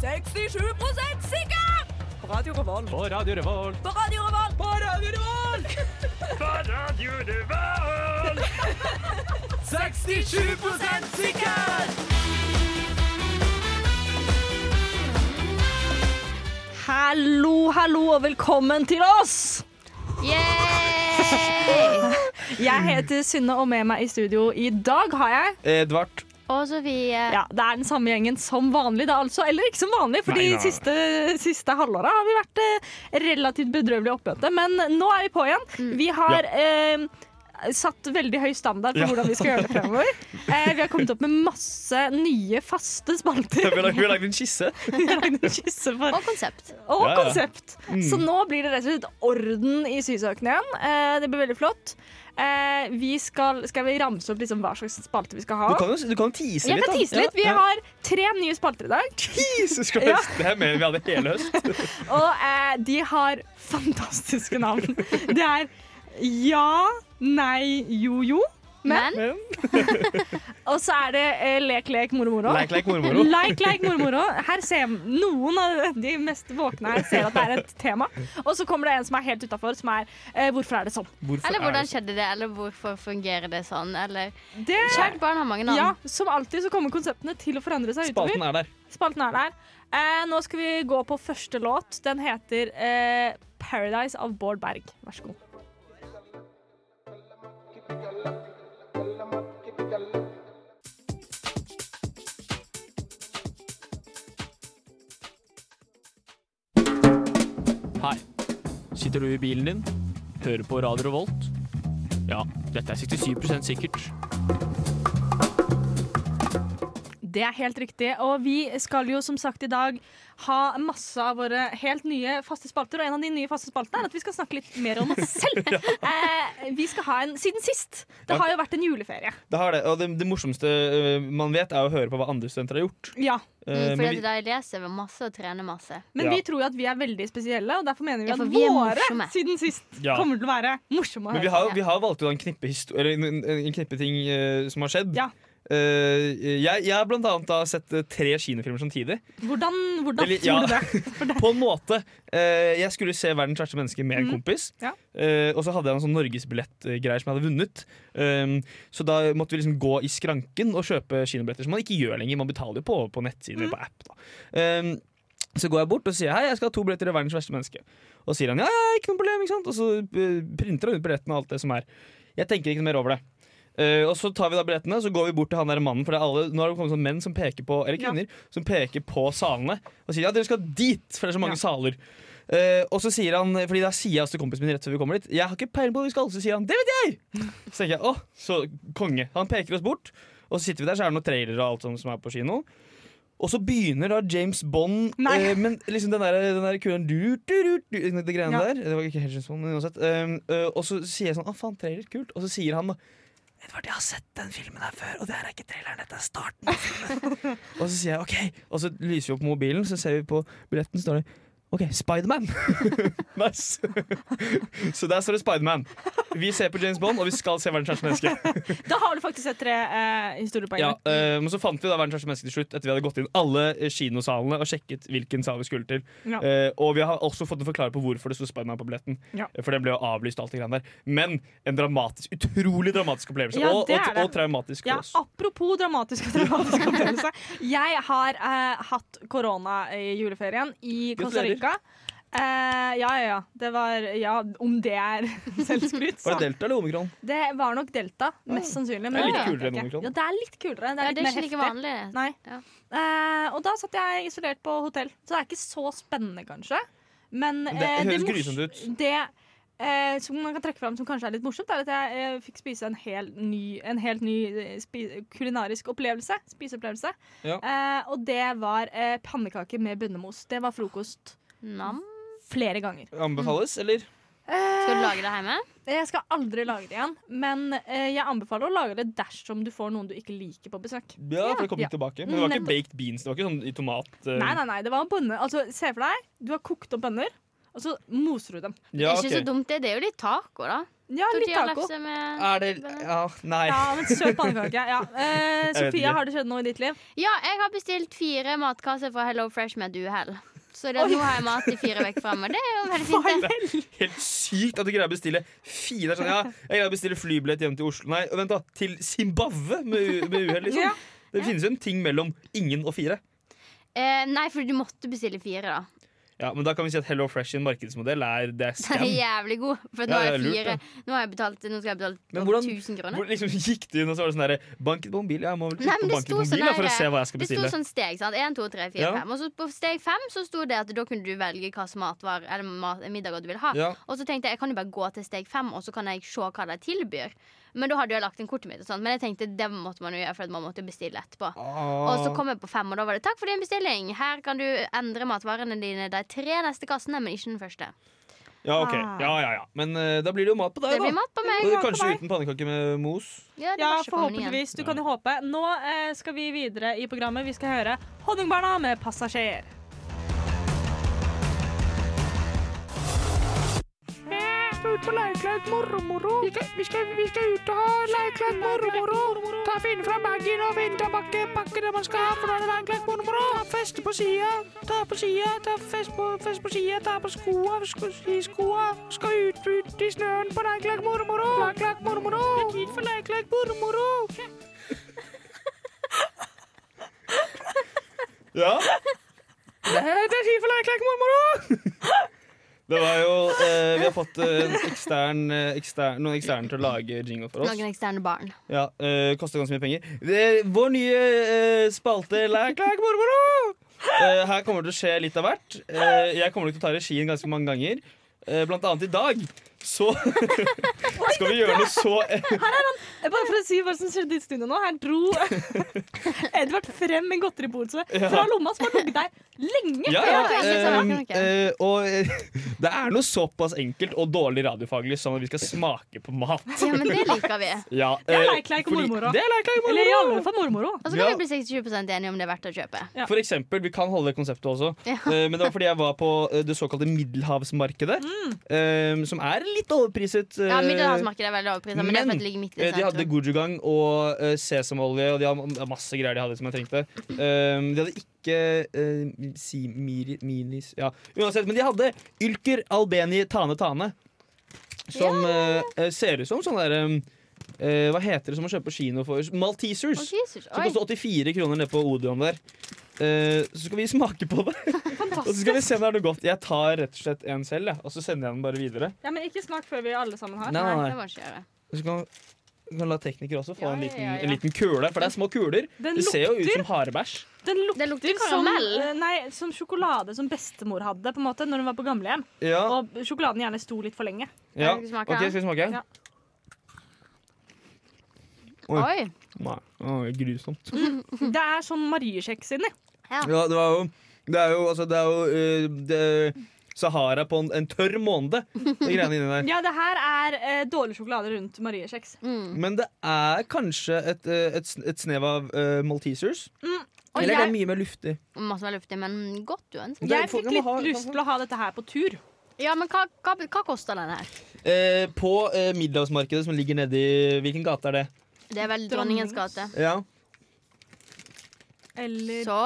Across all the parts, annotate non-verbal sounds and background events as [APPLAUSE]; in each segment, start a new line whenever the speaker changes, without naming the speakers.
67 sikker! På Radio Revolt.
På Radio Revolt.
På Radio Revolt.
På Radio
[LAUGHS]
Revolt! På Radio Revolt! 67 sikker!
Hallo, hallo og velkommen til oss!
Yay!
Jeg heter Synne, og med meg i studio i dag har jeg
Edvard.
[LAUGHS] Og Sofie.
Ja, Det er den samme gjengen som vanlig, da altså. Eller ikke som vanlig, for de
Nei, nei.
siste, siste halvåra har vi vært eh, relativt bedrøvelig oppmøte. Men nå er vi på igjen. Vi har eh, satt veldig høy standard for
Ja.
hvordan vi skal gjøre det
[LAUGHS]
fremover. Eh, vi har kommet opp med masse nye faste
Vi
spalter.
har lagd- vi har lagd en skisse.
Vi har lagd en skisse for
Og konsept.
og
Ja, Mm. ja.
konsept. Så nå blir det rett og slett orden i sysakene igjen. Eh, det blir veldig flott. Eh, vi skal, skal vi ramse opp liksom hva slags spalte vi skal ha?
Du kan jo du kan jo tease
Jeg
litt.
kan
da.
tise litt. Vi
Ja.
har tre nye spalter i dag.
Jesus Christ,
Ja.
det her mener vi hadde hele
[LAUGHS]
høst.
Og eh, de har fantastiske navn. Det er Ja, nei, jo, jo.
Men
Og så er det eh, Lek, lek, moro, moro.
Leik, leik, mormoro.
Like, like, mormoro. Her ser Noen av de mest våkne her ser at det er et tema. Og så kommer det en som er helt utafor, som er eh, Hvorfor er det sånn?
Hvorfor
Eller
er
hvordan
det sånn?
skjedde det, eller hvorfor fungerer det sånn? Eller
Det,
Kjært barn har mange navn.
ja, Som alltid så kommer konseptene til å forandre seg utover.
Spalten er der.
Spalten er der. Eh, nå skal vi gå på første låt. Den heter eh, 'Paradise' av Bård Berg. Vær så god.
Hei. Sitter du i bilen din? Hører på Radio Revolt? Ja, dette er 67 sikkert.
Det er helt riktig. Og vi skal jo som sagt i dag ha masse av våre helt nye faste spalter. Og en av de nye faste spaltene er at vi skal snakke litt mer om oss
[LAUGHS]
selv. eh, vi skal ha en siden sist. Det
Ja.
har jo vært en juleferie.
Det, har det. Og det, det morsomste øh, man vet, er å høre på hva andre studenter har gjort.
Ja.
Eh,
Mm,
men
fordi
vi-
at da jeg leser masse og trener masse.
Men
Ja.
vi tror jo at vi er veldig spesielle, og derfor mener vi
Ja,
at
for vi er
våre
morsomme.
siden sist
Ja.
kommer til å være morsomme å
Men vi
høre.
har, vi har valgt ut en knippe, histo- eller en, en- en knippe ting eh, som har skjedd.
Ja.
Eh, jeg, jeg har blant annet da sett eh, tre kinofilmer samtidig.
Hvordan, hvordan
Eller,
tror
ja.
du det? For det?
[LAUGHS] På en måte. Eh, jeg skulle se 'Verdens verste menneske' med en kompis.
Mm. Ja.
Eh, og så hadde jeg en sånn norgesbillettgreier som jeg hadde vunnet. Um, så da måtte vi liksom gå i skranken og kjøpe kinobilletter, som man ikke gjør lenger. Man betaler jo på, på
Mm.
nettsiden eller på app. da um, så går jeg bort og sier hei, jeg skal ha to billetter i 'Verdens verste menneske'. Og sier han ja, ja, ikke noe problem, ikke sant? Og så eh, printer han ut billettene og alt det som er. Jeg tenker ikke noe mer over det. Eh, og så tar vi da billettene Så går vi bort til han der mannen. For det er alle, nå har det kommet sånn menn som peker på Eller
Ja.
kvinner som peker på salene og sier ja, dere skal dit, for det er så mange
Ja.
saler. Eh, og så sier han Fordi da sier jeg også til kompisen min rett før vi kommer dit Jeg har ikke peiling på hvor vi skal. Så sier han det vet jeg! Så tenker jeg å, så konge. Han peker oss bort, og så sitter vi der, så er det noen trailere og alt sånt som er på kino. Og så begynner da James Bond
Nei.
eh, Men liksom den der, den der kulen du, du, du, du, Det greiene
Ja.
der Det var ikke helt James Bond men uansett um, eh, Og så sier jeg sånn, å faen, trailer, kult Og så sier han da Edvard, jeg har sett den filmen her før Og det her er ikke traileren, dette er starten av
[LAUGHS]
filmen Og så sier jeg, ok Og så lyser vi opp mobilen, så ser vi på billetten Står det, ok, Spider-Man [LAUGHS] Nice Så der står det Spider-Man Vi ser på James Bond, og vi skal se verdens verste menneske
Da har du faktisk sett tre eh, historiepoeng.
ja, eh, men så fant vi da verdens verste menneske til slutt etter vi hadde gått inn alle eh, kinosalene og sjekket hvilken sal vi skulle til.
Ja.
Eh, og vi har også fått en forklaring på hvorfor det sto Spiderman på billetten.
Ja.
Eh, For den ble jo avlyst og alt det greiene der. Men en dramatisk, utrolig dramatisk opplevelse.
Ja,
og,
det er
og,
det.
og traumatisk
Ja, altså.
for oss.
apropos dramatisk og dramatisk opplevelse. Jeg har eh, hatt korona i juleferien i Costa
Gratulerer.
Rica. Eh, ja, ja, ja. Det var Ja, om det er [LAUGHS] selvskryt, så.
Var det delta eller omikron?
Det var nok delta, mest sannsynlig.
Det er
det
litt
vet
kulere
jeg
enn
ikke.
omikron.
Ja, det er litt kulere. Det
Ja,
er
det
litt
er
mer
ikke like
heftig.
vanlig. det.
Nei.
Ja.
Eh, og da satt jeg isolert på hotell, så det er ikke så spennende, kanskje. Men
Men det
eh,
høres
mors-
grusomt ut.
Det eh, som man kan trekke fram som kanskje er litt morsomt, er at jeg eh, fikk spise en helt ny, en helt ny eh, spi kulinarisk opplevelse. Spiseopplevelse.
Ja.
Eh, og det var eh, pannekaker med bønnemos. Det var frokost
Nam.
flere ganger.
Anbefales,
Mm.
eller?
Skal du lage det hjemme?
Jeg skal aldri lage det igjen, men eh, jeg anbefaler å lage det dersom du får noen du ikke liker på besøk.
Ja, for det kom
Ja.
ikke tilbake. Men det var
Nettopp.
ikke baked beans. Det var ikke sånn i tomat. eh,
Nei, nei, nei, det var bønner. Altså, se for deg, du har kokt opp bønner, og så moser du dem.
Ja,
Ikke så
ok.
dumt, det. Det er jo litt taco, da.
Ja, litt taco.
Tortillalefse med
Er det Ja, nei.
Ja, men søt pannekake. [LAUGHS] Ja. Eh,
vet ikke.
Sofia, har det skjedd noe i ditt liv?
Ja, jeg har bestilt fire matkasser fra Hello Fresh med et uhell. Så det,
Oi.
nå har jeg mat i fire vekk frem, og det er jo veldig fint. det.
Helt sykt at du greier å bestille fire. Det er Sånn, ja, jeg greier å bestille flybillett hjem til Oslo Nei, vent, da. Til Zimbabwe med u- med uhell, liksom.
Ja.
Det finnes jo en ting mellom ingen og fire.
Eh, nei, for du måtte bestille fire, da.
Ja, Men da kan vi si at Hello Fresh sin markedsmodell er det er
Den
scam.
er jævlig god. For
Ja,
nå har
ja,
jeg
lurt,
fire.
ja.
Nå, har jeg betalt, nå skal jeg betale
Men
over
hvordan-
1000 kroner.
Hvor liksom gikk du inn og så var det sånn derre Banket på mobil, ja, jeg må vel trykke
Nei, men
på
det
banket på
sto sånn
mobil da, for å
her,
se hva jeg skal
Det sto
bestille.
sånn steg. sant? 1, 2, 3, 4,
Ja.
5. Og så på steg 5 så sto det at da kunne du velge hva som matvar, eller mat, middager du vil ha.
Ja.
Og så tenkte jeg jeg kan jo bare gå til steg 5 og så kan jeg se hva de tilbyr. Men da hadde jeg lagt inn kortet mitt, og sånt. men jeg tenkte det måtte man jo gjøre for at man måtte bestille etterpå. Og
Ah.
så kom jeg på 5, og da var det 'takk for din bestilling'. Her kan du endre matvarene dine de tre neste kassene, men ikke den første.
Ja, ok. Ja, ja, ja. Men eh, da blir det jo mat på deg,
Det blir
da.
mat på meg.
Og
mat på
kanskje
meg.
uten pannekake med mos.
Ja, det
Ja,
var ikke på menyen.
forhåpentligvis. Du kan jo håpe. Nå eh, skal vi videre i programmet. Vi skal høre Honningbarna med 'Passasjer'.
Ja.
Eh,
Det var jo eh, Vi har fått eh, en ekstern, eh, ekstern, noen eksterne til å lage jingle for oss.
Noen eksterne barn. [LAUGHS]
Ja, eh, Koster ganske mye penger. Det, vår nye eh, spalte Læk, læk, mormoro! Eh, her kommer det til å skje litt av hvert. Eh, jeg kommer nok til å ta regien ganske mange ganger. Eh, blant annet i dag. Så [LAUGHS] skal vi gjøre noe så
Eh, Bare for å si hva som skjedde i studio nå. Her dro [LAUGHS] Edvard frem en godteripose fra lomma som har ligget der lenge.
Ja,
Ja, det er ikke
ja.
sånn, det er ikke noe.
eh, eh, og eh, det er noe såpass enkelt og dårlig radiofaglig som at vi skal smake på mat.
Ja, men det liker vi.
Ja,
Det er
eh,
leik-leik og
fordi-
mormoro.
Det er leik,
Eller
leik,
i
mormoro.
alle fall mormoro.
Og så
Ja. Eh,
kan vi bli 67 enige om det er verdt å kjøpe.
Ja.
For eksempel, Vi kan holde konseptet også,
Ja.
Eh, men det var fordi jeg var på eh, det såkalte middelhavsmarkedet. eh, som er litt overpriset. eh,
Mm. Ja, Middelhavsmarkedet er veldig overpriset, men, det er for
men,
at det ligger midt i
eh, de hadde
sentrum.
gojugang og eh, sesamolje, og de hadde masse greier de hadde som jeg trengte. Eh, de hadde ikke eh, si, miri, minis Ja, uansett. Men de hadde Ylker Albeni Tane Tane. Som eh, eh, ser ut som sånn derre Hva heter det som å kjøpe på kino for Maltesers.
Å, Jesus,
Som
oi.
koster 84 kroner nede på Odeon der. Eh, så skal vi smake på det. Og så skal vi se om det er noe godt. Jeg tar rett og slett en selv, jeg, og så sender jeg den bare videre.
Ja, men ikke smak før vi alle sammen har.
Nei, nei,
Nei, det
nei.
må ikke gjøre.
Og Så kan, du kan la teknikere også få
Ja,
en, liten,
ja, ja.
en liten kule, for det er små kuler.
Den
Det ser jo ut
lukter,
som harebæsj.
den lukter,
Den lukter
som,
karamell.
eh, nei, som sjokolade som bestemor hadde på en måte, når hun var på gamlehjem.
Ja,
Og sjokoladen gjerne sto litt for lenge.
ja.
Skal vi smake,
OK,
da?
skal vi smake?
Ja.
Oi.
Oi.
Nei, å, grusomt.
Det er sånn mariekjeks inni.
Ja, det var jo Det er jo, altså, det er jo eh, det, Sahara på en, en tørr måned, de greiene inni der.
Ja, det her er eh, dårlig sjokolade rundt mariekjeks.
Mm.
Men det er kanskje et, eh, et, sn- et snev av eh, Maltesers.
Mm. Og
Eller er
jeg,
det mye mer luftig?
Masse mer luftig, men godt uansett.
jeg
folk
fikk
må
litt
ha-
lyst til å ha dette her på tur.
Ja, men hva, hva, hva koster denne her?
Eh, på eh, Middelhavsmarkedet, som ligger nedi Hvilken gate er det?
Det er vel Dronningens gate.
Ja.
Eller
Så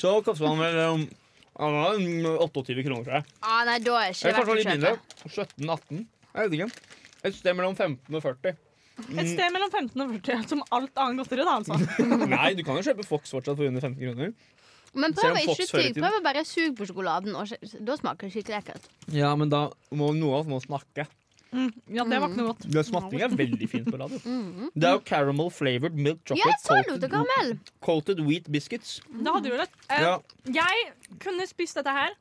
Så koster han vel um, han var, um, 28 kroner, tror jeg.
ah, Nei, da er ikke
Eller kanskje
det verdt å
litt
kjøpe.
mindre. 17-18. Jeg vet ikke. Et sted mellom 15 og
[LAUGHS]
40.
et sted mellom 15 og 40, [LAUGHS] som alt annet godteri, da, altså.
Nei, du kan jo kjøpe Fox fortsatt for under 15 kroner.
Men
Selv om
prøv å ikke
Fox hører
tygge.
til.
Prøv å bare suge på sjokoladen. Og sj- da smaker det skikkelig ekkelt.
Ja, men da må noe av oss må snakke.
Mm, ja, det var ikke noe godt.
Det smatting er veldig fint på
[LAUGHS]
radio. Det er jo caramel flavored milk
Ja,
chocolate
Mm-hmm. jeg sa det til
coated,
Karamell!
coated wheat biscuits.
Da hadde du rett. Eh,
Ja.
Jeg kunne spist dette her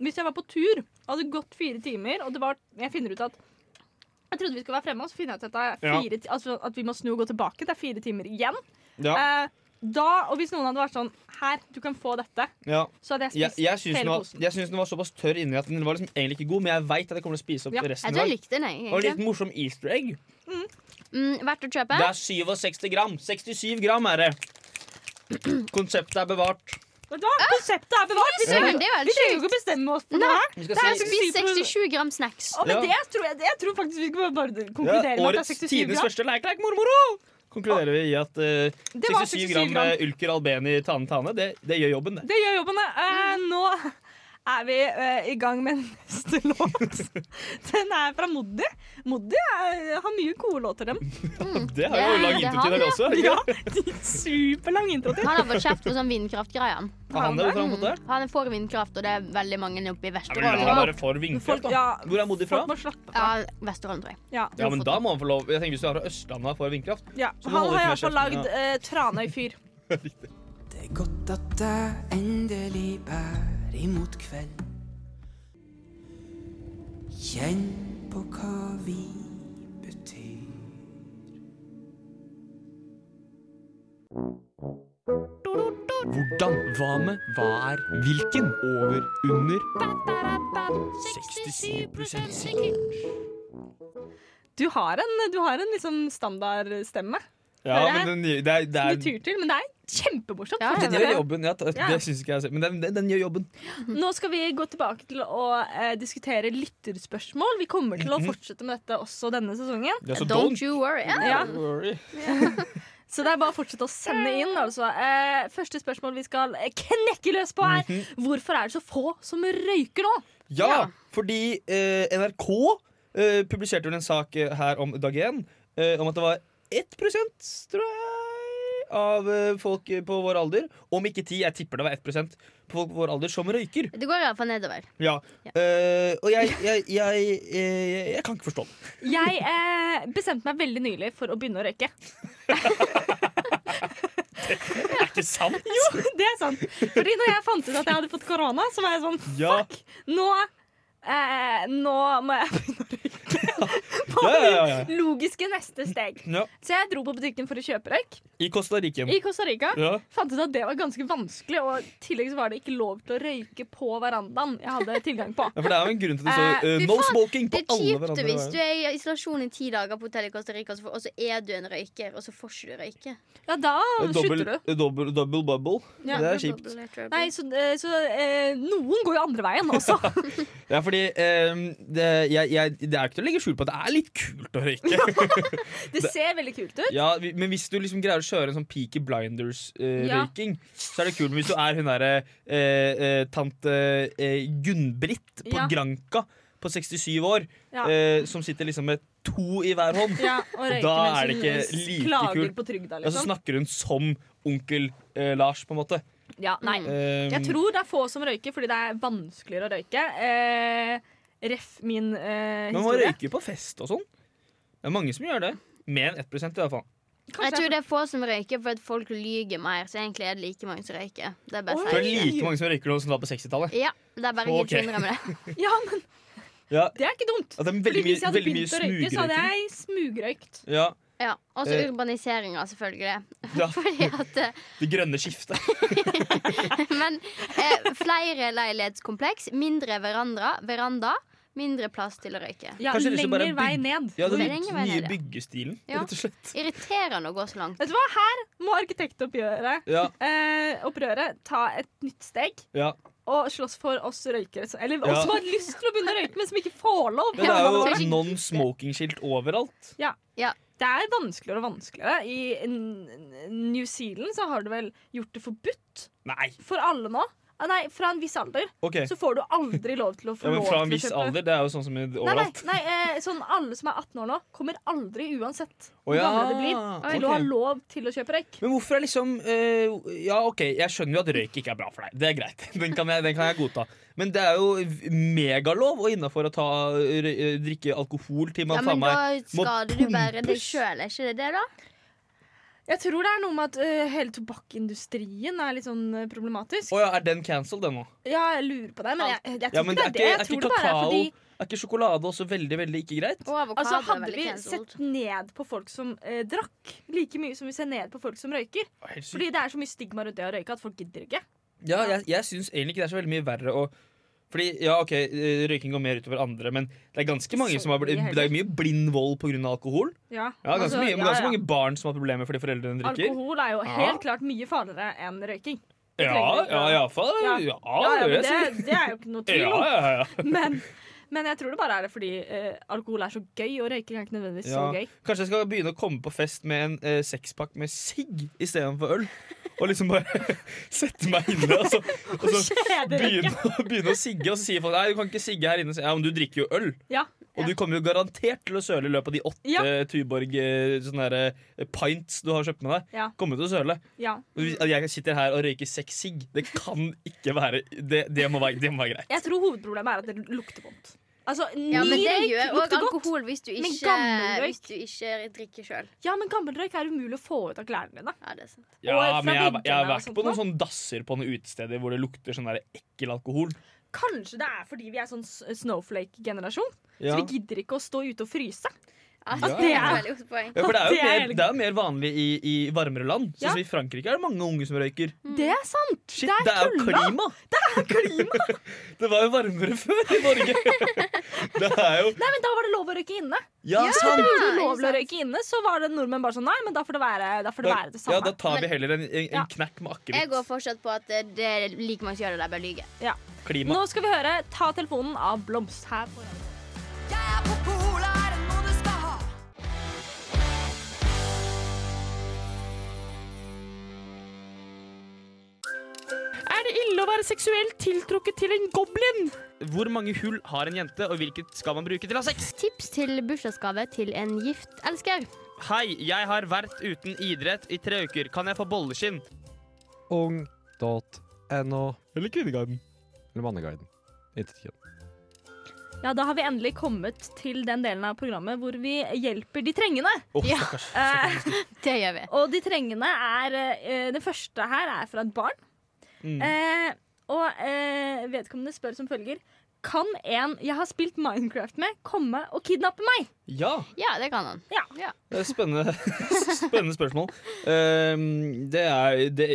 hvis jeg var på tur. Hadde gått fire timer, og det var Jeg finner ut at jeg trodde vi skulle være fremme, og så finner jeg ut at, det er
Ja.
fire, ti- altså at vi må snu og gå tilbake. Det er fire timer igjen.
Ja,
Eh, da, og hvis noen hadde vært sånn Her, du kan få dette.
ja.
Så hadde jeg
Jeg,
spist
jeg syns den
hele
var,
posen.
jeg syns den var såpass tørr inni at den var liksom egentlig ikke god, men jeg veit at jeg kommer til å spise opp
Ja,
resten. i
Jeg tror
dag.
jeg likte den. jeg,
Og en
egentlig.
liten morsom easter egg.
Mm, verdt å kjøpe?
Det er 67 gram. 67 gram er det. Konseptet er bevart.
Da, konseptet er bevart! Vi
Fy søren,
trenger
det er jo helt
vi trenger jo ikke bestemme oss for det her.
Vi
Det
skal
her
si-
si
syv
spiser
prosent.
67 gram snacks.
Å, men
Ja.
det tror jeg, jeg tror faktisk vi skal bare
ja,
konkludere med at
årets
det er 67
tidenes
gram.
første leik, leik, mormoro! Konkluderer vi i at eh,
Det var
67 gram eh, Ulker Albeni Tane Tane, det, det gjør jobben, det.
Det gjør jobben, det. Eh,
Mm.
nå er vi eh, i gang med [LAUGHS] neste låt. Den er fra Moddi. Moddi eh, har mye gode låter, dem.
Det har jo
Ja,
lang
det
intro
har
til
vi,
dere også. ikke?
Ja, de er Superlang intro til.
Han har fått kjeft for sånn vindkraftgreiene.
Har han det? Hvorfor har han fått det?
Mm. Han er for vindkraft, og det er veldig mange oppe i
Ja, men la
Vesterålen.
han
nå.
være for vindkraft,
Folk,
da.
ja,
Hvor er Moddi fra?
folk må slappe
Ja,
av.
Vesterålen, tror jeg.
Ja.
Ja, men da må han få lov. Jeg tenker Hvis du har fra Østlandet og er for vindkraft
Ja.
Så du
Han
holder
har iallfall
ikke med kjeften,
lagd eh, Tranøy-fyr.
Det er godt at det endelig bærer imot kveld. Kjenn på hva vi betyr.
Hvordan, hva med, hva er, hvilken, over, under 67 sikker.
Du har en, du har en liksom standardstemme
Ja,
Hører jeg?
men den, gjør- det er, det
som
er,
du tur til, men det er kjempemorsomt.
Ja,
Fortsett
den
med
gjør
det.
jobben. Ja, det
Ja.
det syns ikke jeg selv. Men den, den, den gjør jobben.
Nå skal vi gå tilbake til å eh, diskutere lytterspørsmål. Vi kommer til å
Mhm.
fortsette med dette også denne sesongen.
Ja, så
Don't you worry. Ja.
Ja,
worry.
så det er bare å fortsette å sende inn. Altså. Eh, første spørsmål vi skal eh, knekke løs på, er
Mhm.
hvorfor er det så få som røyker nå?
Ja,
Ja.
fordi eh, NRK eh, publiserte vel en sak eh, her om dagen eh, om at det var 1 tror jeg, av eh, folk eh, på vår alder, om ikke 10, jeg tipper det var 1 på folk på vår alder som røyker.
Det går iallfall nedover.
Ja.
Ja.
Eh, og jeg, jeg, jeg, eh, jeg, jeg kan ikke forstå det.
Jeg eh, bestemte meg veldig nylig for å begynne å røyke.
Det er ikke sant!
[LAUGHS] Det er sant. Fordi når jeg fant ut at jeg hadde fått korona, så var jeg sånn
Ja,
Nå, eh, nå må jeg begynne å røyke. På
Ja, ja, ja, ja.
det logiske neste steg.
ja.
Så jeg dro på butikken for å kjøpe røyk
I Costa Rica.
i Costa Rica.
Ja.
Fant ut at det var ganske vanskelig, og i tillegg så var det ikke lov til å røyke på verandaen jeg hadde tilgang på.
Ja, for det er jo en grunn til det står
Eh,
eh,
fy
no
faen,
smoking på
Det er
alle
kjipt hvis du
hverandre.
er i isolasjon i ti dager på hotell i Costa Rica, og så får- og så er du en røyker, og så får ikke du røyke.
Ja, da
Dobbel,
slutter du.
dobbel, Eh, double bubble.
Ja.
Det er kjipt.
Nei, så, eh, så eh, noen går jo andre veien også.
[LAUGHS] Ja, fordi ehm, det, jeg, jeg, det er ikke til å legge skjul på at det er litt kult å
[LAUGHS]
røyke.
Det ser veldig kult ut.
ja, vi- Men hvis du liksom greier å kjøre en sånn Peaky
Ja.
Blinders-røyking, så er det kult. Men hvis du er hun derre eh, eh, tante eh, Gunn-Britt på
Ja.
Granka på 67 år,
Ja.
eh, som sitter liksom med to i hver hånd,
Ja, og røyke
Da
mens
er det
hun
ikke
s-
like
klager
kult.
på trygda,
ja, så
liksom.
snakker hun som onkel eh, Lars, på en måte.
Ja, nei.
Ehm,
Jeg tror det er få som røyker fordi det er vanskeligere å røyke. Eh, ref min eh,
men man
historie.
røyker jo på fest og sånn. Det er mange som gjør det. Mer enn 1 i hvert fall.
Jeg
Kanskje
tror det er få som røyker fordi at folk lyger mer, så egentlig er det like mange som røyker. Det er bare
Oi.
Så det
feil.
er like mange som røyker nå som det var på 60-tallet.
Ja, det er bare
Ok.
okay. ikke å innrømme det.
Ja, men
Ja,
det er ikke dumt.
at det
Fordi
er Altså, veldig
hvis jeg
mye,
hadde
veldig mye
begynt å røyke, så hadde
smugrøyking.
jeg smugrøykt.
Ja,
Ja, Og så
Eh.
urbaniseringa, selvfølgelig. [LAUGHS]
ja,
Fordi at eh,
det grønne skiftet.
Men eh, flere leilighetskompleks, mindre veranda, veranda, mindre plass til å røyke.
Ja,
Kanskje de
lenger
skal bare
vei
bygge-
ned.
Ja, den
Hvor lenge var det
nye
det?
byggestilen,
Ja.
rett og slett.
Irriterende å gå så langt.
Vet du hva, her må arkitektoppgjøret
Ja,
eh, opprøret ta et nytt steg.
ja.
Og slåss for oss røykere. som- Eller
Ja.
oss som har lyst til å begynne å røyke, men som ikke får lov.
Men det er
det er
jo
skikkelig-
non-smoking-skilt overalt.
Det er vanskeligere og vanskeligere. I N- N- New Zealand så har du vel gjort det forbudt
Nei,
for alle nå. Ah, nei, fra en viss alder
ok.
så får du aldri lov til å få
Ja, men
lov
fra en
til å
viss
kjøpe.
alder, det er jo sånn som i-
Nei, nei,
overalt.
nei eh, sånn alle som er 18 år nå, kommer aldri, uansett hvor
Å, ja,
gamle
Ah,
de blir, til å ha
ok.
lov til å kjøpe røyk.
Men hvorfor er liksom eh, Ja, OK, jeg skjønner jo at røyk ikke er bra for deg. Det er greit. [LAUGHS] Den kan jeg, den kan jeg godta. Men det er jo megalov og innafor å ta, røy- drikke alkohol til man
Ja,
faen
men da
meg må
skader du bare deg
pumpes.
sjøl, er ikke det det, da?
Jeg tror det er noe med at eh, hele tobakkindustrien er litt sånn eh, problematisk.
Å ja, er den cancelled, den nå?
Ja, jeg lurer på det, men jeg, jeg, jeg tror
Ja, men
ikke
det
det
er
er det.
ikke, er
Jeg tror
ikke
det bare er
kakao
fordi
Er ikke sjokolade også veldig, veldig ikke greit?
Og avokado
altså,
er
Hadde
veldig
vi
cancelled.
sett ned på folk som eh, drakk, like mye som vi ser ned på folk som røyker
Helt sykt.
Fordi det er så mye stigma rundt det å røyke at folk gidder ikke.
Ja, jeg, jeg syns egentlig ikke det er så veldig mye verre å fordi, ja, ok, eh, Røyking går mer utover andre, men det er ganske mange
Så
som har bl-
mye heller.
Det er mye blind vold pga. alkohol.
Ja,
Ja, ganske,
altså,
mye,
ja,
men ganske
ja.
mange barn som har problemer fordi foreldrene drikker.
Alkohol er jo
Ja.
helt klart mye farligere enn røyking. Det trenger du ikke.
ja, iallfall. Ja,
Ja.
ja,
Ja, ja,
det
men
vil jeg si.
det, det er jo ikke noe tvil
Ja,
om.
ja, ja.
[LAUGHS] Men, men jeg tror det bare er det fordi eh, alkohol er så gøy, og røyking er ikke nødvendigvis så
Ja.
gøy.
Kanskje jeg skal begynne å komme på fest med en eh, sekspakk med sigg istedenfor øl. Og liksom bare [LAUGHS] sette meg inne og så, og
[LAUGHS]
så begynne, begynne å sigge. Og så sier folk nei, du kan ikke sigge her inne. Så, Ja, men du drikker jo øl.
Ja.
Og du kommer jo garantert til å søle i løpet av de åtte
Ja.
Tuborg eh, sånne der, eh, pints du har kjøpt med deg.
Ja.
Kommer til å søle.
Ja.
Og hvis- At jeg sitter her og røyker seks sigg, det kan ikke være Det, det, må, være, det må være greit.
Jeg tror hovedproblemet er at det lukter vondt. Altså, ny
Ja, men det
røyk
gjør òg
lukter godt.
alkohol hvis du
Men
ikke,
gammel røyk-
hvis du ikke drikker sjøl.
Ja, men gammel røyk er umulig å få ut av klærne dine.
Ja, det er sant.
Ja,
fra
men jeg, jeg har
veggene og
vært på
sånt
noen sånne dasser på noen utesteder hvor det lukter sånn der ekkel alkohol.
Kanskje det er fordi vi er sånn s- snowflake-generasjon, så
Ja.
vi gidder ikke å stå ute og fryse.
Ja,
Ja.
Altså, det er et veldig godt poeng.
Ja, for det er jo
Det er
mer,
helt-
det er jo mer vanlig i, i varmere land. Sånn
Ja.
som I Frankrike er det mange unge som røyker.
Det er sant!
Shit,
det er
det er jo
tulla.
klima!
[LAUGHS]
Det var jo varmere [LAUGHS] før i Norge! Det er jo
Nei, men Da var det lov å røyke inne.
Ja, sant!
Det var
ikke
Lovlig å
sant?
røyke inne, Så var det nordmenn bare sånn Nei, men da får det være, da får det,
Da,
være det
ja,
samme.
da tar vi
Men-
heller en, en,
Ja.
en knekk med
Jeg går
akevitt.
fortsatt på at eh, det er like mange som gjør det der, bare lyver.
Klima.
Nå skal vi høre Ta telefonen av Blomst her. på Radio.
Er det ille å være seksuelt tiltrukket til en goblin?
Hvor mange hull har en jente, og hvilket skal man bruke til å ha sex?
Tips til bursdagsgave til en gift elsker.
Hei, jeg har vært uten idrett i tre uker. Kan jeg få bolleskinn?
Ung.no
Eller Kvinneguiden.
eller Manneguiden. Intet kjønn.
Ja, Da har vi endelig kommet til den delen av programmet hvor vi hjelper de trengende.
Åh,
Ja.
stakkars.
Eh,
Det gjør vi.
og de trengende er eh, Det første her er fra et barn.
Mm.
Eh, og eh, vedkommende spør som følger Kan en jeg har spilt Minecraft med, komme og kidnappe meg?
Ja.
Ja, det kan han.
Det er Spennende, [LAUGHS] spennende spørsmål. Ehm, det, er, det,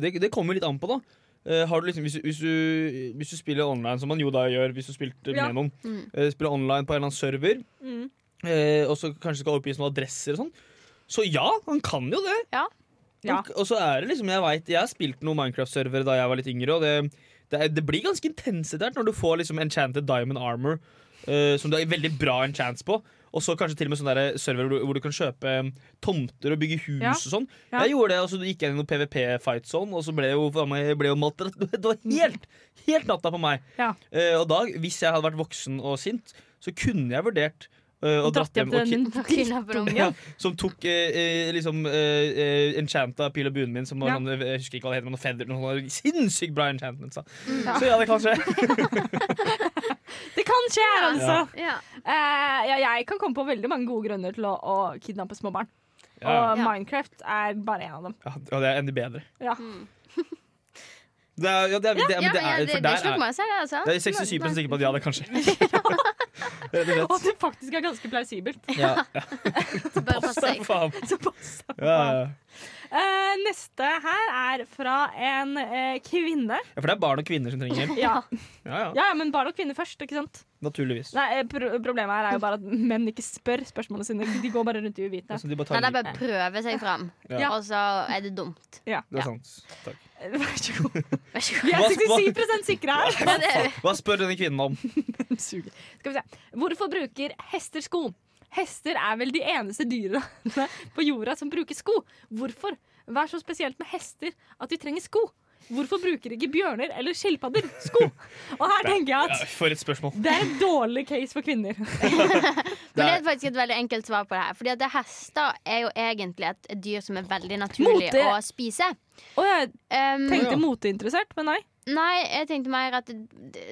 det, det kommer litt an på, da. Eh, har du liksom, hvis, du- hvis, du, hvis du spiller online, som man jo da gjør hvis du spilte
Ja.
med noen,
Mm.
eh, spiller online på en eller annen server,
Mm.
eh, og så kanskje skal oppgis noen adresser og sånn, så ja, han kan jo det.
Ja.
Ja.
Og, og så er det liksom, jeg vet, jeg har spilt noen Minecraft-servere da jeg var litt yngre, og det, det, er, det blir ganske intense der når du får liksom Enchanted Diamond Armor, eh, som du har veldig bra enchants på, og så kanskje til og med sånne der server hvor du, hvor du kan kjøpe eh, tomter og bygge hus
Ja.
og sånn.
Ja.
Jeg gjorde det, og så gikk jeg inn i noen PVP-fight sånn, og så ble jeg jo, faen meg- ble jeg jo maltratt. [LAUGHS] Det var helt, helt natta på meg.
Ja.
Eh, og da, hvis jeg hadde vært voksen og sint, så kunne jeg vurdert eh, å dratt hjem og
den
ki-
din
Da kidnapper han
ja, som tok eh, eh, liksom eh, eh, enchanta pil og buen min, som var
Ja.
noen, jeg husker ikke hva det heter, men noen feather, noen sånne sinnssykt bra enchantments. Da.
Ja.
Så ja, det kan skje.
Det kan skje, her, altså.
Ja.
Ja.
Eh, ja, jeg kan komme på veldig mange gode grunner til å, å kidnappe små barn.
Ja,
Og
Ja.
Minecraft er bare en av dem.
ja, det er enda bedre.
Ja.
Mm.
Det er, ja, det er, det,
Ja,
men det
men ja,
er,
det,
for
det
der
slo
er
meg selv, altså.
jeg er 67 sikker på at ja, det kan
[LAUGHS]
skje. [LAUGHS] Rett og
Og
slett.
det faktisk er ganske plausibelt.
Ja, ja,
Bare pass deg.
faen.
Så pass.
Ja, ja.
Eh, neste her er fra en eh, kvinne.
ja, for det er barn og kvinner som trenger hjelp.
Ja.
Ja, ja,
ja, men barn og kvinner først, ikke sant?
naturligvis.
Nei, eh, pro problemet her er jo bare at menn ikke spør spørsmålene sine. De går bare rundt i uvitenhet.
Altså, de bare
Nei,
tar
det er bare å prøve seg fram,
Ja.
og så er det dumt.
Det er sant. Takk.
Eh, Vær så god.
Vær så god.
Vi
Hva-
er 67 sikre her.
Ja, [LAUGHS] det er vi.
Hva spør denne kvinnen
[LAUGHS]
om?
Suger. Skal vi se. Hvorfor bruker hester sko? Hester er vel de eneste dyrene [LAUGHS] på jorda som bruker sko. Hvorfor? Hva er så spesielt med hester at de trenger sko? Hvorfor bruker ikke bjørner eller skilpadder sko? Og her tenker jeg
Ja,
at
for et spørsmål.
det er et dårlig case for kvinner. [LAUGHS]
Men det er faktisk et veldig enkelt svar på det her. Fordi at det- hester er jo egentlig et dyr som er veldig naturlig
Mote.
å spise.
Og jeg
Um,
tenkte
Ja.
moteinteressert, men nei.
Nei, jeg tenkte mer at d-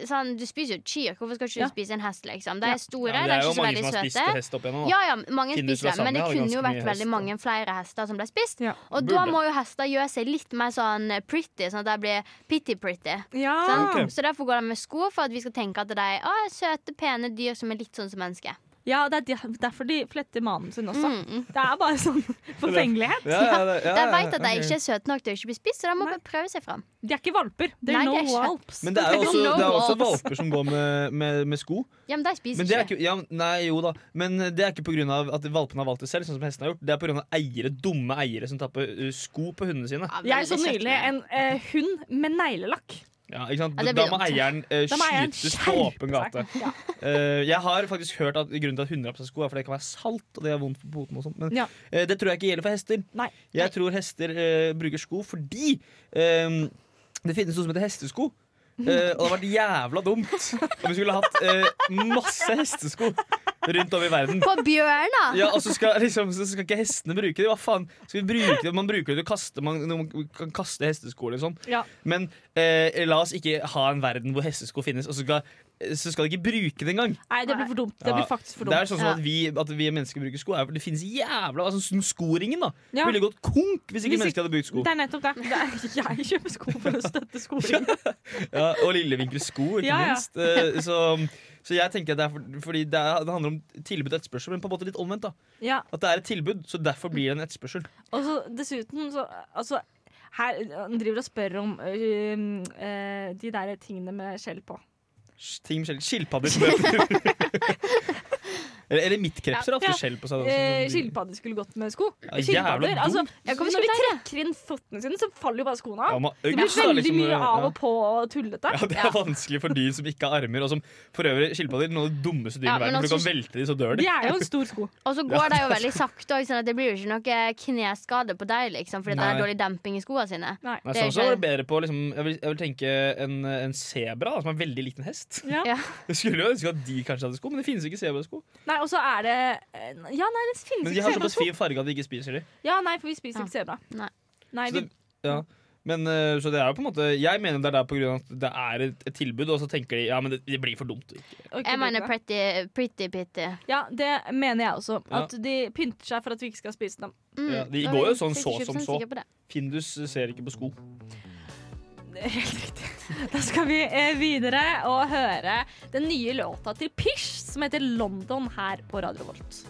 sånn, Du spiser jo et kyr. Hvorfor skal ikke du
Ja.
spise en hest? liksom? De er store,
Ja, men
de
det
er
er jo
ikke så
mange
veldig
som har spist
søte.
hest opp igjennom. da.
Ja, ja, mange
Kinder
spiser det, men det
Lasagna har
kunne
ganske
jo vært
mye
veldig
hest,
mange flere hester som ble spist.
Ja.
Og
Burde.
da må jo hester gjøre seg litt mer sånn pretty, sånn at de blir pitty-pretty.
Ja.
Ah, sant? Så derfor går de med sko for at vi skal tenke at de er søte, pene dyr som er litt sånn som mennesker.
Ja, det er de- derfor de fletter manen sin også.
Mm, mm.
Det er bare sånn forfengelighet.
Ja,
[LAUGHS]
ja, det- ja,
De
ja,
vet at de
ok.
ikke er søte nok til å ikke bli spist, så de må
Nei.
bare prøve seg fram.
De er ikke valper. They're
Nei, de
no
er ikke.
walps.
Men det er jo
Don't
også,
know
det er også
walls.
valper som går med, med, med sko.
Ja, men de spiser
Men det er
ikke.
ikke, ja, nei, jo da. Men det er ikke pga. at valpene har valgt det selv, sånn som hestene har gjort. Det er pga. eiere, dumme eiere som tar på uh, sko på hundene sine.
Ja, veldig
Jeg så
søtt,
nylig
men-
en eh, hund med neglelakk.
Ja, ikke sant?
Ja, det
da må
blir dumt.
eieren uh,
Da må eieren
skytes på åpen
skjerpe
gate.
seg. Ja.
Eh, jeg har faktisk hørt at grunnen til at hunder har på seg sko, er fordi det kan være salt, og det er vondt for poten. og sånt Men
Ja.
eh, det tror jeg ikke gjelder for hester.
Nei.
Jeg tror hester eh, bruker sko fordi eh, det finnes noe som heter hestesko. Eh, og det hadde vært jævla dumt om vi skulle hatt eh, masse hestesko rundt om i verden.
[LAUGHS] På bjørner!
Ja, og så skal, liksom, så skal ikke hestene bruke det. Hva faen? Skal vi bruke det? Man bruker det til å kaste man, man kan kaste hestesko eller sånn.
Ja.
Men eh, la oss ikke ha en verden hvor hestesko finnes, og så skal, så skal de ikke bruke det engang.
Nei, det blir for dumt. Det
Ja,
blir faktisk for
Det er
dumt.
sånn som at vi, at vi mennesker bruker sko. Er, det finnes jævla altså, sånn Skoringen da
Ja.
ville gått konk
Hvis
hvis ikke
ikke-
mennesker hadde brukt sko.
Det er nettopp det. det er, [LAUGHS] jeg kjøper sko for å støtte skoringen.
Ja, og Lillevinkels sko, ikke
Ja, ja.
minst. Eh, så, så jeg tenker at det er for, fordi det, er, det handler om tilbud og etterspørsel, men på en måte litt omvendt. da
[LAUGHS] Ja.
At det er et tilbud, så derfor blir det en etterspørsel.
Og så dessuten så altså, her, Han driver og spør om øhm, øh, de der tingene med skjell på.
Sånn Ting med skjell. Skilpadder
[LAUGHS]
som heter Eller, eller midtkrepser har
Ja.
ofte skjell på seg. da,
Eh,
som-
Skilpadder skulle gått med sko.
Ja, jævla
Skilpadder,
dumt.
altså,
Ja, hvorfor
Når de
skulle de det?
trekker inn føttene sine, så faller jo bare skoene
Ja,
av.
man har
Det
økt,
blir
da,
veldig
liksom,
mye
ja.
av og på og tullete.
Ja, Det er vanskelig for dyr som ikke har armer. Og som for øvrig skilpadder noen av de dummeste dyrene
Ja,
i verden.
men
For du
altså-
kan velte de, så dør de.
De er jo en stor sko.
Og så går de jo veldig sakte, også, sånn at det blir jo ikke noe kneskade på deg, liksom, fordi det
Nei.
er dårlig demping i skoene sine.
Nei.
Nei,
Det er
sånn så var
ikke-
det bedre på liksom, jeg, vil, jeg vil tenke en, en sebra, da, som er veldig lik en hest.
Ja.
Ja.
[LAUGHS] Jeg skulle jo ønske at de kanskje hadde sko, men det finnes ikke sebrasko.
Nei, og så er det eh, Ja, nei, det finnes
Men de
ikke
har såpass
sebrasko.
fin farge at de ikke spiser de.
Ja, nei, for vi spiser
Ja.
ikke sebra.
Nei.
Nei,
Så
vi,
det, ja. Men eh, så det er jo på en måte Jeg mener det er der på grunn av at det er et, et tilbud, og så tenker de ja, men det, det blir for dumt.
og ikke
Jeg mener
bruker det.
pretty, pretty pitty.
Ja, det mener jeg også.
Ja.
At de pynter seg for at vi ikke skal spise dem.
Mm.
Ja, de
Nå
går jo
er jeg
sånn
67%
så som så.
sikker på det.
Findus ser ikke på sko.
Det er Helt riktig. Da skal vi eh, videre og høre den nye låta til Pish som heter 'London' her på Radio Volt.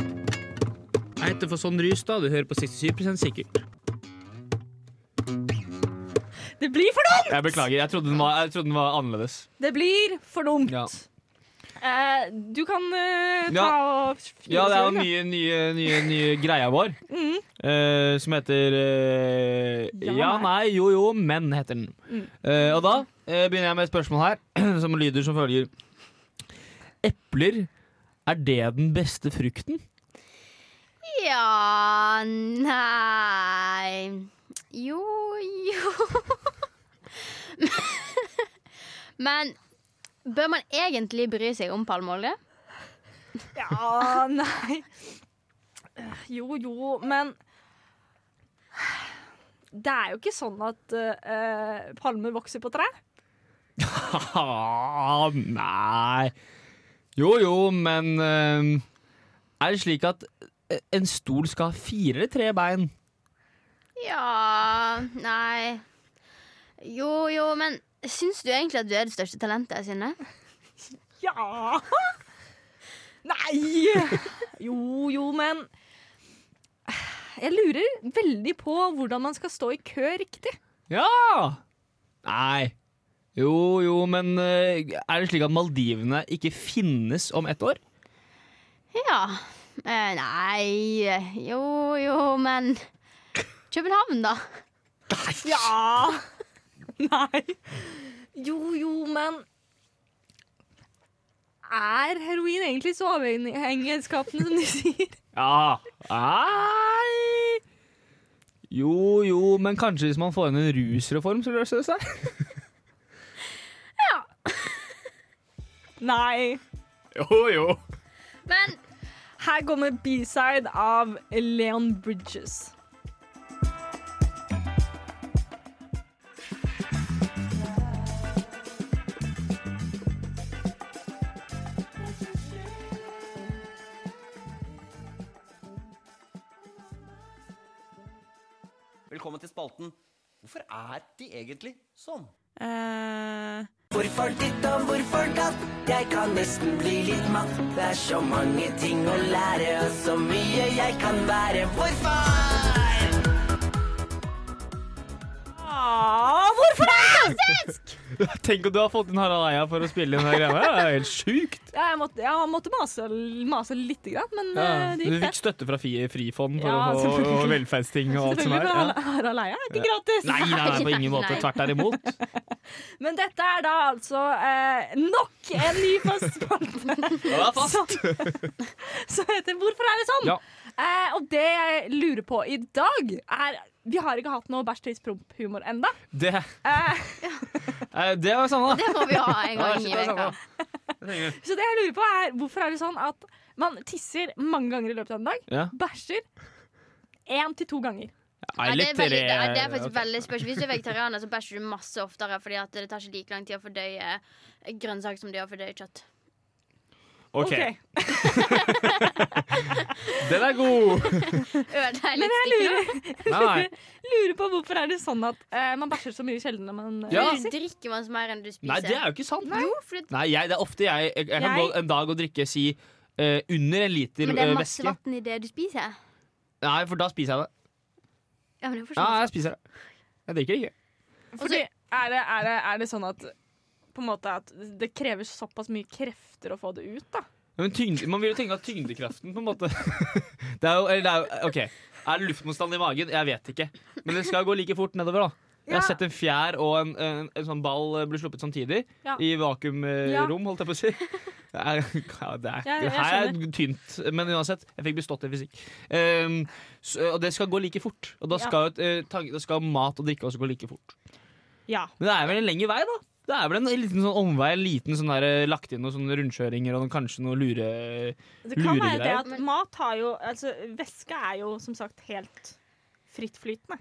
Jeg heter for sånn rys, da. Du hører på 67 sikkert.
Det blir for dumt!
Jeg beklager. Jeg trodde den var, jeg trodde den var annerledes.
Det blir for dumt.
Ja.
Eh, du kan eh, ta og
Ja, det er jo nye, nye, nye, nye greia [LAUGHS] vår. eh, som heter eh,
Ja,
ja, nei, jo, jo, men heter den. Eh, og da eh, begynner jeg med et spørsmål her, [CLEARS THROAT] som lyder som følger. Epler, er det den beste frukten?
Ja Nei Jo, jo Men bør man egentlig bry seg om palmeolje?
Ja, nei Jo, jo, men Det er jo ikke sånn at eh, palmer vokser på tre.
Haha, [LAUGHS] nei. Jo, jo, men eh, er det slik at eh, en stol skal ha fire eller tre bein?
Ja Nei. Jo, jo, men syns du egentlig at du er det største talentet, Synne?
Ja Nei! Jo, jo, men Jeg lurer veldig på hvordan man skal stå i kø riktig.
Ja! Nei. Jo, jo, men eh, er det slik at Maldivene ikke finnes om ett år?
Ja. Eh, nei Jo, jo, men København, da?
Ja! Nei. Jo, jo, men Er heroin egentlig så avhengighetsskapende som de sier?
Ja. Nei Jo, jo, men kanskje hvis man får inn en rusreform, så løser det seg?
[LAUGHS]
Nei.
Jo, jo.
Men
Her kommer B-side av Leon Bridges.
velkommen til spalten Hvorfor er de egentlig sånn?
Eh,
Hvorfor ditt og hvorfor datt? Jeg kan nesten bli litt matt. Det er så mange ting å lære, og så mye jeg kan være. Hvorfor?
Tenk om du har fått inn Harald Eia for å spille inn den greia. Det er helt sjukt.
Ja, jeg måtte, jeg måtte mase, mase litt, grann, men eh, det
Du
gikk, det.
fikk støtte fra Fi- Frifond for
Ja,
å få
selvfølgelig.
og velferdsting og alt som
Selvfølgelig,
er.
for
Ja.
Harald- Harald Eia er ikke gratis.
Nei, nei, nei, på ingen måte.
Nei.
Tvert
[LAUGHS]
derimot.
Men dette er da altså eh, nok en ny fast spalte som, [LAUGHS] som heter Hvorfor er det sånn?
Ja.
Eh, og det jeg lurer på i dag, er Vi har ikke hatt noe bæsj, tiss, promp-humor enda
Det,
Eh,
eh, det var samme, da.
Det må vi ha
Ja,
en gang
shit,
i
det er
veka.
samme. Det trenger vi.
Så det jeg lurer på er hvorfor er det sånn at man tisser mange ganger i løpet av en dag,
Ja.
bæsjer én til to ganger.
Ja, det, er
tre-
veldig, det, er, det er faktisk
ok.
veldig spørsmål. Hvis du er vegetarianer, så bæsjer du masse oftere, Fordi at det tar ikke like lang tid å fordøye grønnsak som det gjør å fordøye kjøtt.
OK, den er [LAUGHS] god.
Ødelegger
Men jeg
litt
lurer,
Nei, nei.
[LAUGHS] lurer på hvorfor er det sånn at eh, man bæsjer så mye sjeldnere man eh,
Ja.
stikkene. Drikker man så mer enn du spiser?
Nei, det er jo ikke sant.
Jo, fordi
Nei, jeg, det er ofte jeg Jeg, jeg kan
Jeg-
gå en dag og drikke si eh, under en liter
Men det er
eh,
masse
væske.
vann i det du spiser.
Nei, for da spiser jeg det.
Ja, men det er
Ja,
forståelig.
jeg spiser det. Jeg drikker ikke.
Fordi
altså-
er det, er, det, er det sånn at på en måte at det krever såpass mye krefter å få det ut, da?
Ja, Men tyngde, man vil jo tenke at tyngdekraften på en måte [LAUGHS] Det er jo, eller det er jo OK. Er det luftmotstand i magen? Jeg vet ikke. Men det skal gå like fort nedover, da. Jeg har
Ja.
sett en fjær og en, en, en sånn ball eh, bli sluppet samtidig.
Ja.
I vakuumrom,
Ja.
holdt jeg på å si. Det er, [LAUGHS] ja, det
Ja,
er,
jeg
det her er tynt, men uansett. Jeg fikk bestått i fysikk. Ehm, så, og det skal gå like fort. Og da
Ja.
skal, jo et, eh, tank- da skal mat og drikke også gå like fort.
Ja.
Men det er vel en lengre vei, da. Det er vel en liten sånn omvei, en liten sånn der, eh, lagt inn noen sånne rundkjøringer og noen, kanskje noe lure...
Det kan være det
Luregreier.
at mat har jo Altså, væske er jo som sagt helt frittflytende.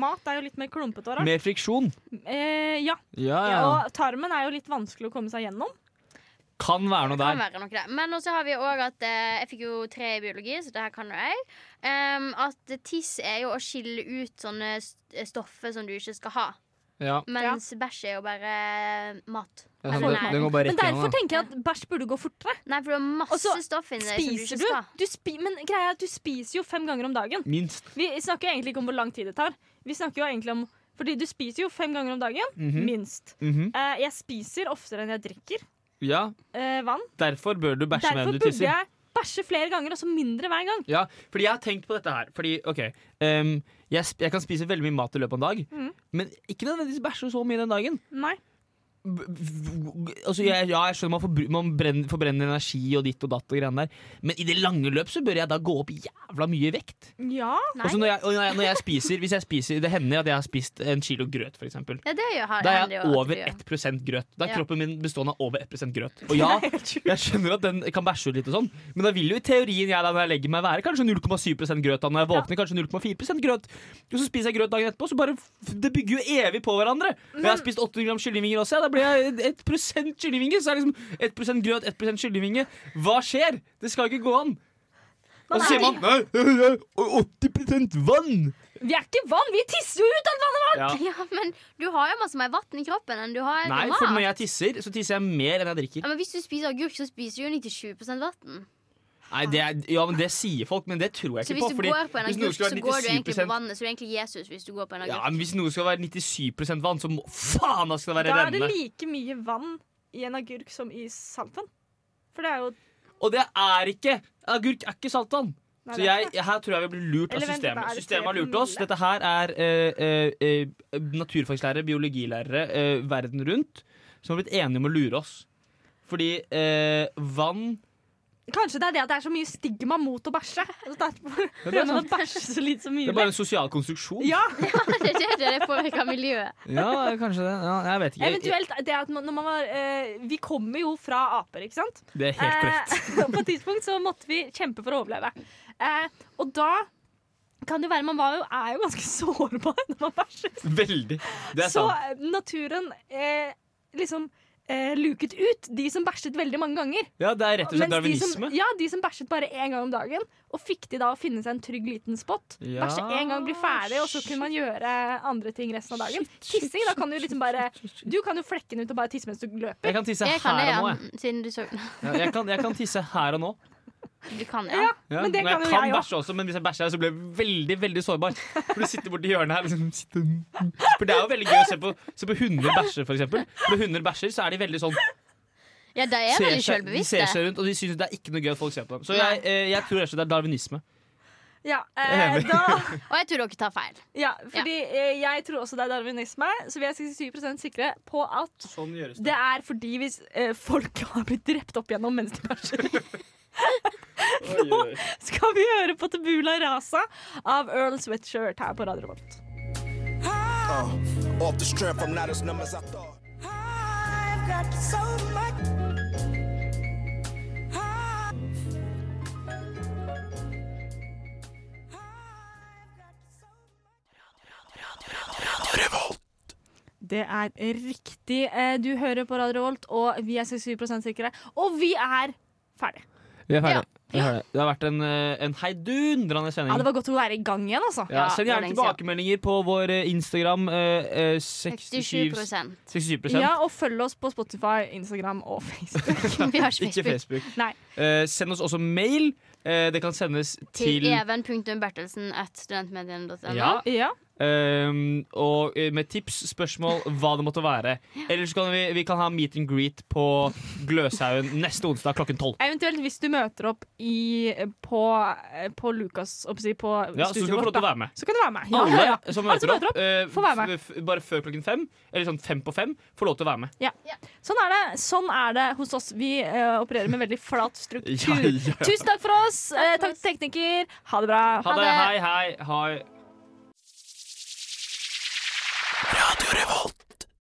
Mat er jo litt mer klumpete og rart.
Mer friksjon.
Eh, ja.
Ja, ja.
Og tarmen er jo litt vanskelig å komme seg gjennom.
Kan være noe
Det kan
der.
være nok det. Men også har vi òg at eh, Jeg fikk jo tre i biologi, så det her kan jo jeg. Em, at tiss er jo å skille ut sånne st- stoffer som du ikke skal ha.
Ja.
Mens bæsj er jo bare eh, mat.
Ja, sånn,
Eller
den-
nei.
den går bare
Men
rett
derfor
gjennom. da.
tenker jeg at bæsj burde gå fortere.
Nei, for du har masse
Og så
stoff inni deg som du ikke
Spiser du?
skal.
du spi men greia er at du spiser jo fem ganger om dagen.
Minst.
Vi snakker jo egentlig ikke om hvor lang tid det tar. Vi snakker jo egentlig om Fordi du spiser jo fem ganger om dagen. Minst.
Mhm.
Eh, jeg spiser oftere enn jeg drikker
Ja,
eh, vann.
derfor bør du bæsje mer
Derfor
enn du
burde
tisser.
jeg bæsje flere ganger, og så mindre hver gang.
Ja, fordi jeg har tenkt på dette her. Fordi, ok ehm, jeg, sp- jeg kan spise veldig mye mat i løpet av en dag,
Mhm.
men ikke nødvendigvis bæsje så mye den dagen.
Nei.
B- b- Altså, jeg, ja, jeg skjønner man, forbru- man brenner, forbrenner energi og ditt og datt og greiene der, men i det lange løp så bør jeg da gå opp jævla mye i vekt.
Ja.
Nei.
Og så når jeg, og når jeg, når jeg spiser, hvis jeg spiser Det hender at jeg har spist en kilo grøt, for eksempel.
Ja, det gjør har
Da er
hender jo at
jeg
du
over
gjør.
1 grøt. Da er
Ja.
kroppen min bestående av over 1 grøt. Og ja, jeg skjønner at den kan bæsje ut litt og sånn, men da vil jo i teorien jeg da når jeg legger meg være kanskje 0,7 grøt. Da når jeg våkner kanskje 0,4 grøt. Og så spiser jeg grøt dagen etterpå, så bare f- Det bygger jo evig på hverandre. Og jeg har spist 800 gram kyllingvinger også, ja, da blir jeg 1 kyllingvinger. Så er det liksom 1 grøt, 1 kyllingvinge. Hva skjer? Det skal jo ikke gå an. Og så sier man nei, jeg er 80 vann.
Vi er ikke vann, vi tisser jo ut av vannet!
Ja.
[LAUGHS] Ja, men du har jo masse mer vann i kroppen enn du har
Nei,
mat.
for når jeg tisser, så tisser jeg mer enn jeg drikker.
ja, men hvis du spiser agurk, så spiser du jo 97 vann.
Nei, det er, ja, men det sier folk, men det tror jeg
Så
ikke
hvis
på.
du
fordi
går på en
hvis noe
agurk,
skal
så
være
går du egentlig på
97%
vannet. Så du er egentlig Jesus hvis du går på en
ja,
agurk. [LAUGHS]
men Hvis noe skal være 97 vann, så må faen da skal det
Da
være
er det
rennende.
like mye vann i en agurk som i saltvann. For det er jo
Og det er ikke Agurk er ikke saltvann.
Nei,
Så
det er
jeg,
ikke det.
jeg, her tror jeg vi blir lurt av
Eller vent, da
systemet.
er det
Systemet har
tre
lurt oss.
promille.
Dette her er eh, eh, eh, naturfagslærere, biologilærere eh, verden rundt som har blitt enige om å lure oss. Fordi eh, vann
Kanskje det er det at det er så mye stigma mot å bæsje. Og derfor
er
prøver man å
sant.
bæsje så lite som
sånn- Det
mulig.
er bare en sosial konstruksjon.
Ja,
det er det det påvirker miljøet.
Ja, kanskje det. Ja, jeg vet ikke. Jeg-
eventuelt det at man- når man var eh, Vi kommer jo fra aper, ikke sant?
Det er helt korrekt.
[LAUGHS] Eh, på et tidspunkt så måtte vi kjempe for å overleve. Eh, og da kan det være Man var jo, er jo ganske [LAUGHS] sårbar når man bæsjer.
Veldig. Det er
Så
sant.
eh, naturen eh, liksom eh, luket ut de som bæsjet veldig mange ganger.
Ja, det er rett og slett
Mens de som,
darwinisme.
ja, de som bæsjet bare én gang om dagen, og fikk de da å finne seg en trygg liten spot.
Ja.
Bæsje én gang, bli ferdig, og så kunne man gjøre andre ting resten av dagen. Tissing, da kan du liksom bare Du kan jo flekke den ut og bare tisse mens du løper.
Jeg kan tisse
Jeg kan det,
her og nå.
ja.
Jeg.
Siden du så [LAUGHS]
Ja, jeg, kan, jeg kan tisse her og nå.
Du kan, ja.
Ja,
Ja,
men det
og
kan jo
jeg kan
jeg òg.
bæsje også, men hvis jeg bæsjer her, så blir jeg veldig veldig sårbar. For du sitter borti hjørnet her liksom, sitter. For det er jo veldig gøy å se på, se på hunder bæsje, for eksempel. Når hunder bæsjer, så er de veldig sånn
Ja, de er
ser seg, De
veldig
ser
sjølbevisste.
seg rundt, og de syns det er ikke noe gøy at folk ser på dem. Så
Nei.
jeg, eh, jeg tror rett og slett det er darwinisme.
Ja, eh, da,
Og jeg tror dere tar feil.
ja, fordi eh, jeg tror også det er darwinisme, så vi er 67 sikre på at
Sånn gjøres
det er fordi hvis eh, folk har blitt drept opp igjennom mens de bæsjer. Nå [LAUGHS] skal vi høre på Tabula Rasa av Earl Sweatshirt her på Radio Revolt.
Off the strip, I'm not as numb as I thought.
I've got so much
Det er riktig. Eh, Du hører på Radio Revolt, og vi er 67 sikre. Og vi er ferdig.
Vi er
ferdig.
Det har vært en, eh, en heidundrende
Ja, det
sending.
var godt å være i gang igjen, altså.
Ja, send
Ja,
gjerne
det var lenge
tilbakemeldinger på vår eh, Instagram. eh, eh, 67
67
67
Ja, og følg oss på Spotify, Instagram og Facebook.
[LAUGHS] Vi har ikke
Ikke
Facebook.
Facebook.
Nei.
Eh, send oss også mail. Eh, det kan sendes
Til
til
even.bertelsen.studentmediene.no.
Ja.
[LAUGHS] Ja.
Ehm, og eh, med tips, spørsmål, hva det måtte være. Eller så kan vi, vi kan ha meet and greet på Gløshaugen neste onsdag klokken tolv.
Eventuelt hvis du møter opp i, på, på Lukas opp å si, på
Ja, så skal du
studioet
få lov
vårt,
til
da.
å være med.
Så kan du være med. Ja,
Alle
ja, ja.
som
Alle som
møter opp, eh,
får være med.
f- f- bare før klokken fem, eller sånn fem på fem, får lov til å være med.
Sånn er det. Sånn er det hos oss. Vi eh, opererer med veldig flat struktur.
Ja, [LAUGHS] ja.
Tusen takk for oss. Eh, takk til tekniker. Ha det bra.
Ha det.
det.
Hei, hei. Hei.
Radio Revolt.